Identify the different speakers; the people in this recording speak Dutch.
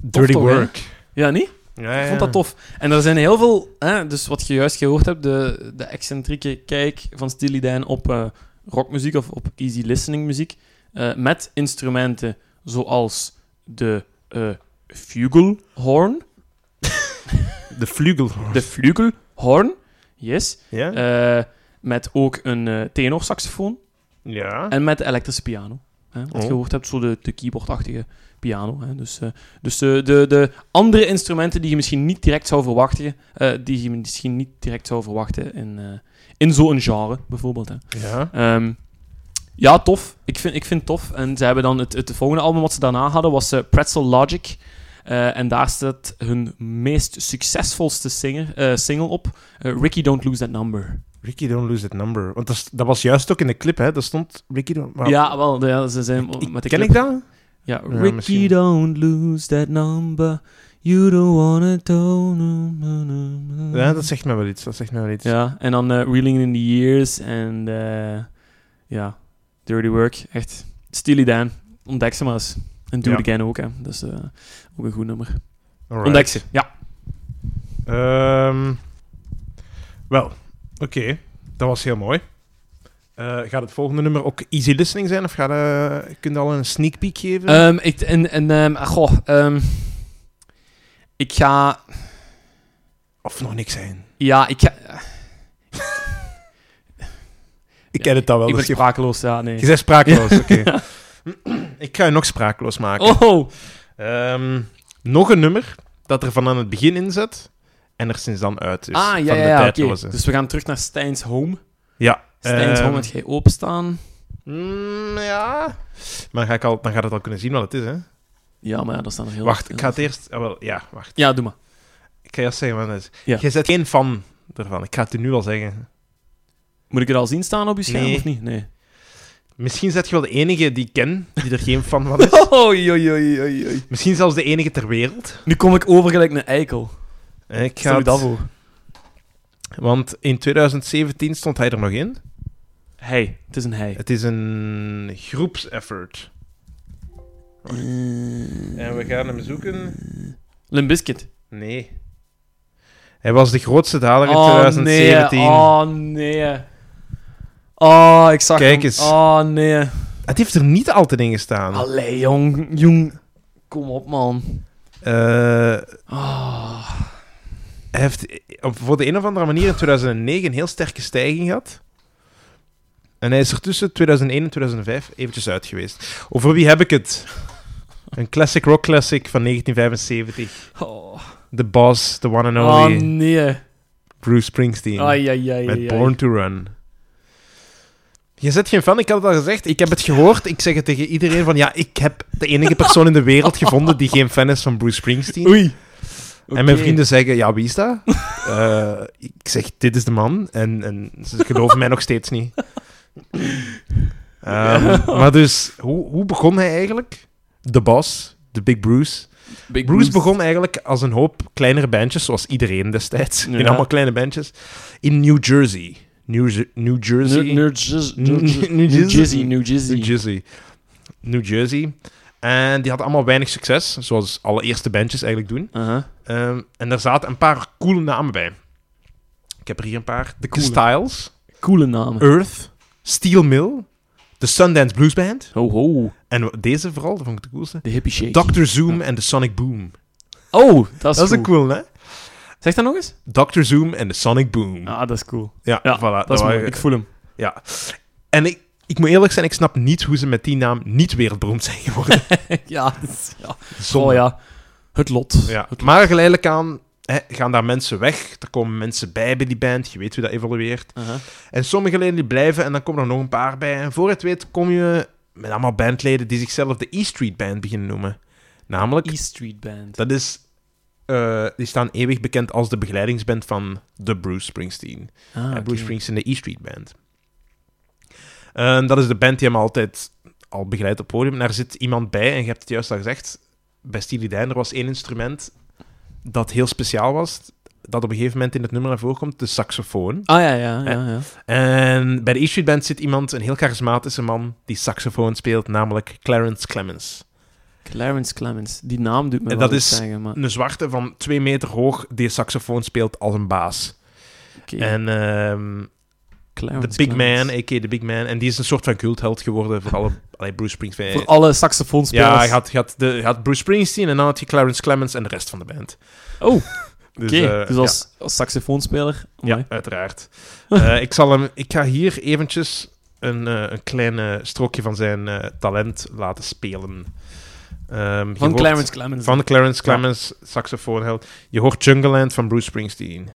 Speaker 1: Dirty
Speaker 2: toch, hè?
Speaker 1: work.
Speaker 2: Ja, niet?
Speaker 3: Ja,
Speaker 2: Ik vond dat tof. En er zijn heel veel, hè, dus wat je juist gehoord hebt, de, de excentrieke kijk van Steely Dan op eh, rockmuziek of op easy listening muziek, eh, met instrumenten zoals de eh flugelhorn,
Speaker 3: De vlugel.
Speaker 2: de flugelhorn, yes,
Speaker 3: Ja?
Speaker 2: eh, met ook een eh tenorsaxofoon
Speaker 3: ja.
Speaker 2: en met de elektrische piano. Hè, wat je
Speaker 3: Oh.
Speaker 2: gehoord hebt, zo de, de keyboardachtige piano. Hè. Dus, eh, dus de, de, de andere instrumenten die je misschien niet direct zou verwachten, eh, die je misschien niet direct zou verwachten in, eh, in zo'n genre, bijvoorbeeld. Hè.
Speaker 3: ja.
Speaker 2: Ehm, ja, tof. Ik vind, ik vind het tof. En ze hebben dan het, het volgende album wat ze daarna hadden, was eh, Pretzel Logic. Eh, en daar staat hun meest succesvolste singer, eh, single op, eh, Ricky Don't Lose That Number.
Speaker 3: Ricky, don't lose that number. Want dat, is- dat was juist ook in de clip, hè. Daar stond Ricky... don't- maar-
Speaker 2: Ja, wel, de- ja, ze zijn
Speaker 3: Ik-
Speaker 2: met de
Speaker 3: ken
Speaker 2: clip-
Speaker 3: ik dat?
Speaker 2: Ja,
Speaker 3: Ja,
Speaker 2: Ricky,
Speaker 3: misschien.
Speaker 2: don't lose that number. You don't wanna do. no, no, no, no.
Speaker 3: Ja, dat zegt mij wel iets. Dat zegt mij wel iets.
Speaker 2: Ja, en dan eh, Reeling in the Years en eh, ja, Dirty Work. Echt, Steely Dan. Ontdek ze maar eens. En Do
Speaker 3: Ja.
Speaker 2: It Again ook, hè. Dat is eh, ook een goed nummer.
Speaker 3: Alright.
Speaker 2: Ontdek ze, ja.
Speaker 3: Ehm, wel, oké. Dat was heel mooi. Eh, gaat het volgende nummer ook easy listening zijn? Of gaat, eh kun je al een sneak peek geven?
Speaker 2: Ehm, ik, en, en ehm, ah, goh, ehm, ik ga,
Speaker 3: of nog niks zijn?
Speaker 2: ja, ik ga,
Speaker 3: Ik ken het dan wel.
Speaker 2: ik ben
Speaker 3: dus je-
Speaker 2: sprakeloos, ja, nee.
Speaker 3: je bent spraakloos, oké. ik ga je nog spraakloos maken.
Speaker 2: Oh,
Speaker 3: Ehm, nog een nummer dat er van aan het begin in zat en er sinds dan uit is.
Speaker 2: ah, ja,
Speaker 3: Dus van
Speaker 2: ja,
Speaker 3: de
Speaker 2: ja, oké.
Speaker 3: tijdloze.
Speaker 2: Dus we gaan terug naar Stijn's Home.
Speaker 3: Ja.
Speaker 2: Stijn's
Speaker 3: ehm,
Speaker 2: Home, het jij openstaan.
Speaker 3: mm, ja. Maar ga ik al, dan gaat het al kunnen zien wat het is, hè?
Speaker 2: Ja, maar ja, dat staan er heel
Speaker 3: Wacht,
Speaker 2: veel.
Speaker 3: ik ga het eerst... ah, wel, ja, wacht.
Speaker 2: Ja, doe maar.
Speaker 3: Ik ga eerst zeggen wat het is.
Speaker 2: Ja.
Speaker 3: Jij bent geen fan ervan. Ik ga het u nu al zeggen.
Speaker 2: Moet ik het al zien staan op je scherm
Speaker 3: Nee.
Speaker 2: of niet? Nee.
Speaker 3: Misschien zet je wel de enige die ik ken die er geen fan van is.
Speaker 2: Oei, oei, oei, oei, oei.
Speaker 3: Misschien zelfs de enige ter wereld.
Speaker 2: Nu kom ik over gelijk naar eikel.
Speaker 3: Eh, Ik
Speaker 2: Stel
Speaker 3: ga
Speaker 2: je dat
Speaker 3: het,
Speaker 2: voor.
Speaker 3: want in 2017 stond hij er nog in.
Speaker 2: Hij. Het is een hij.
Speaker 3: Het is een groepseffort. En we gaan hem zoeken.
Speaker 2: Limbiskit.
Speaker 3: Nee. Hij was de grootste daler in
Speaker 2: Oh nee.
Speaker 3: 2017.
Speaker 2: Oh nee. Oh, ik zag
Speaker 3: Kijk
Speaker 2: hem.
Speaker 3: eens.
Speaker 2: Oh nee.
Speaker 3: Het heeft er niet altijd in gestaan.
Speaker 2: Allee, jong. Jong. Kom op, man.
Speaker 3: Eh,
Speaker 2: Oh.
Speaker 3: hij heeft op- voor de een of andere manier in 2009 een heel sterke stijging gehad. En hij is er tussen 2001 en 2005 eventjes uit geweest. Over wie heb ik het? Een classic rock classic van 1975.
Speaker 2: Oh,
Speaker 3: The Boss, The One and
Speaker 2: oh
Speaker 3: Only,
Speaker 2: nee.
Speaker 3: Bruce Springsteen.
Speaker 2: Ai, ai, ai,
Speaker 3: Met
Speaker 2: ai, ai.
Speaker 3: Born to Run. Je zet geen fan, ik had het al gezegd. Ik heb het gehoord. Ik zeg het tegen iedereen van ja, ik heb de enige persoon in de wereld gevonden die geen fan is van Bruce Springsteen.
Speaker 2: Oei.
Speaker 3: En mijn
Speaker 2: Oké.
Speaker 3: vrienden zeggen, ja, wie is dat? Eh, ik zeg, dit is de man. En, en ze geloven mij nog steeds niet. Ehm, maar dus, hoe, hoe begon hij eigenlijk? De boss, de Big Bruce.
Speaker 2: Big
Speaker 3: Bruce begon eigenlijk als een hoop kleinere bandjes, zoals iedereen destijds.
Speaker 2: Ja.
Speaker 3: In allemaal kleine bandjes. In New Jersey. New, Jer- New Jersey.
Speaker 2: New- New Jersey.
Speaker 3: New- New-
Speaker 2: New Jersey.
Speaker 3: Jersey.
Speaker 2: New
Speaker 3: New
Speaker 2: Jersey.
Speaker 3: Jersey. New Jersey. En die hadden allemaal weinig succes, zoals alle eerste bandjes eigenlijk doen.
Speaker 2: Aha.
Speaker 3: Ehm, en daar zaten een paar coole namen bij. Ik heb er hier een paar. The
Speaker 2: Coole.
Speaker 3: Styles,
Speaker 2: Coole namen.
Speaker 3: Earth, Steel Mill, The Sundance Blues Band.
Speaker 2: Ho, ho.
Speaker 3: En deze vooral, dat vond ik de coolste.
Speaker 2: De hippie shake.
Speaker 3: Dr. Zoom en The Sonic Boom.
Speaker 2: Oh, dat
Speaker 3: Dat
Speaker 2: is,
Speaker 3: is een
Speaker 2: cool.
Speaker 3: cool, hè?
Speaker 2: Zeg dat nog eens.
Speaker 3: Dr. Zoom en The Sonic Boom.
Speaker 2: Ah, dat is cool.
Speaker 3: Ja,
Speaker 2: Ja,
Speaker 3: voilà. Dat
Speaker 2: Dat is mooi.
Speaker 3: waren-
Speaker 2: Ik voel hem.
Speaker 3: ja. En ik, ik moet eerlijk zijn, ik snap niet hoe ze met die naam niet wereldberoemd zijn geworden.
Speaker 2: ja, dat is- ja.
Speaker 3: Zonde.
Speaker 2: Oh ja. Het lot.
Speaker 3: Ja. Maar geleidelijk aan hè, gaan daar mensen weg. Er komen mensen bij bij die band. Je weet hoe dat evolueert.
Speaker 2: Aha.
Speaker 3: En sommige leden die blijven en dan komen er nog een paar bij. En voor het weet kom je met allemaal bandleden die zichzelf de E Street Band beginnen noemen. Namelijk,
Speaker 2: E Street Band.
Speaker 3: dat is... eh, die staan eeuwig bekend als de begeleidingsband van de Bruce Springsteen.
Speaker 2: Ah,
Speaker 3: En
Speaker 2: oké.
Speaker 3: Bruce Springsteen, de E Street Band. En dat is de band die hem altijd al begeleidt op het podium. En daar zit iemand bij, en je hebt het juist al gezegd, bij Steely Dan, er was één instrument dat heel speciaal was, dat op een gegeven moment in het nummer naar voren komt, de saxofoon.
Speaker 2: Ah ja, ja, ja. ja.
Speaker 3: En bij de E Street Band zit iemand, een heel charismatische man, die saxofoon speelt, namelijk Clarence Clemens.
Speaker 2: Clarence Clemens. Die naam doet me
Speaker 3: En
Speaker 2: wel
Speaker 3: dat
Speaker 2: iets
Speaker 3: is-
Speaker 2: zeggen, maar...
Speaker 3: Een zwarte van twee meter hoog die saxofoon speelt als een baas.
Speaker 2: oké,
Speaker 3: En ehm,
Speaker 2: Clarence
Speaker 3: de Big
Speaker 2: Clemens.
Speaker 3: Man, a.k.a. de Big Man. En die is een soort van cultheld geworden voor alle allee, Bruce Springsteen.
Speaker 2: Voor alle saxofoonspelers.
Speaker 3: ja, je had, je, had de, je had Bruce Springsteen en dan had je Clarence Clemens en de rest van de band.
Speaker 2: Oh, oké.
Speaker 3: Dus,
Speaker 2: Dus,
Speaker 3: eh, ja.
Speaker 2: als, als saxofoonspeler...
Speaker 3: Ja,
Speaker 2: amai.
Speaker 3: uiteraard. Eh, ik, zal hem, ik ga hier eventjes een, eh, een klein eh, strookje van zijn eh, talent laten spelen. Ehm, je
Speaker 2: Van
Speaker 3: hoort-
Speaker 2: Clarence Clemens.
Speaker 3: Van Clarence Clemens, saxofoonheld. Je hoort Jungleland van Bruce Springsteen.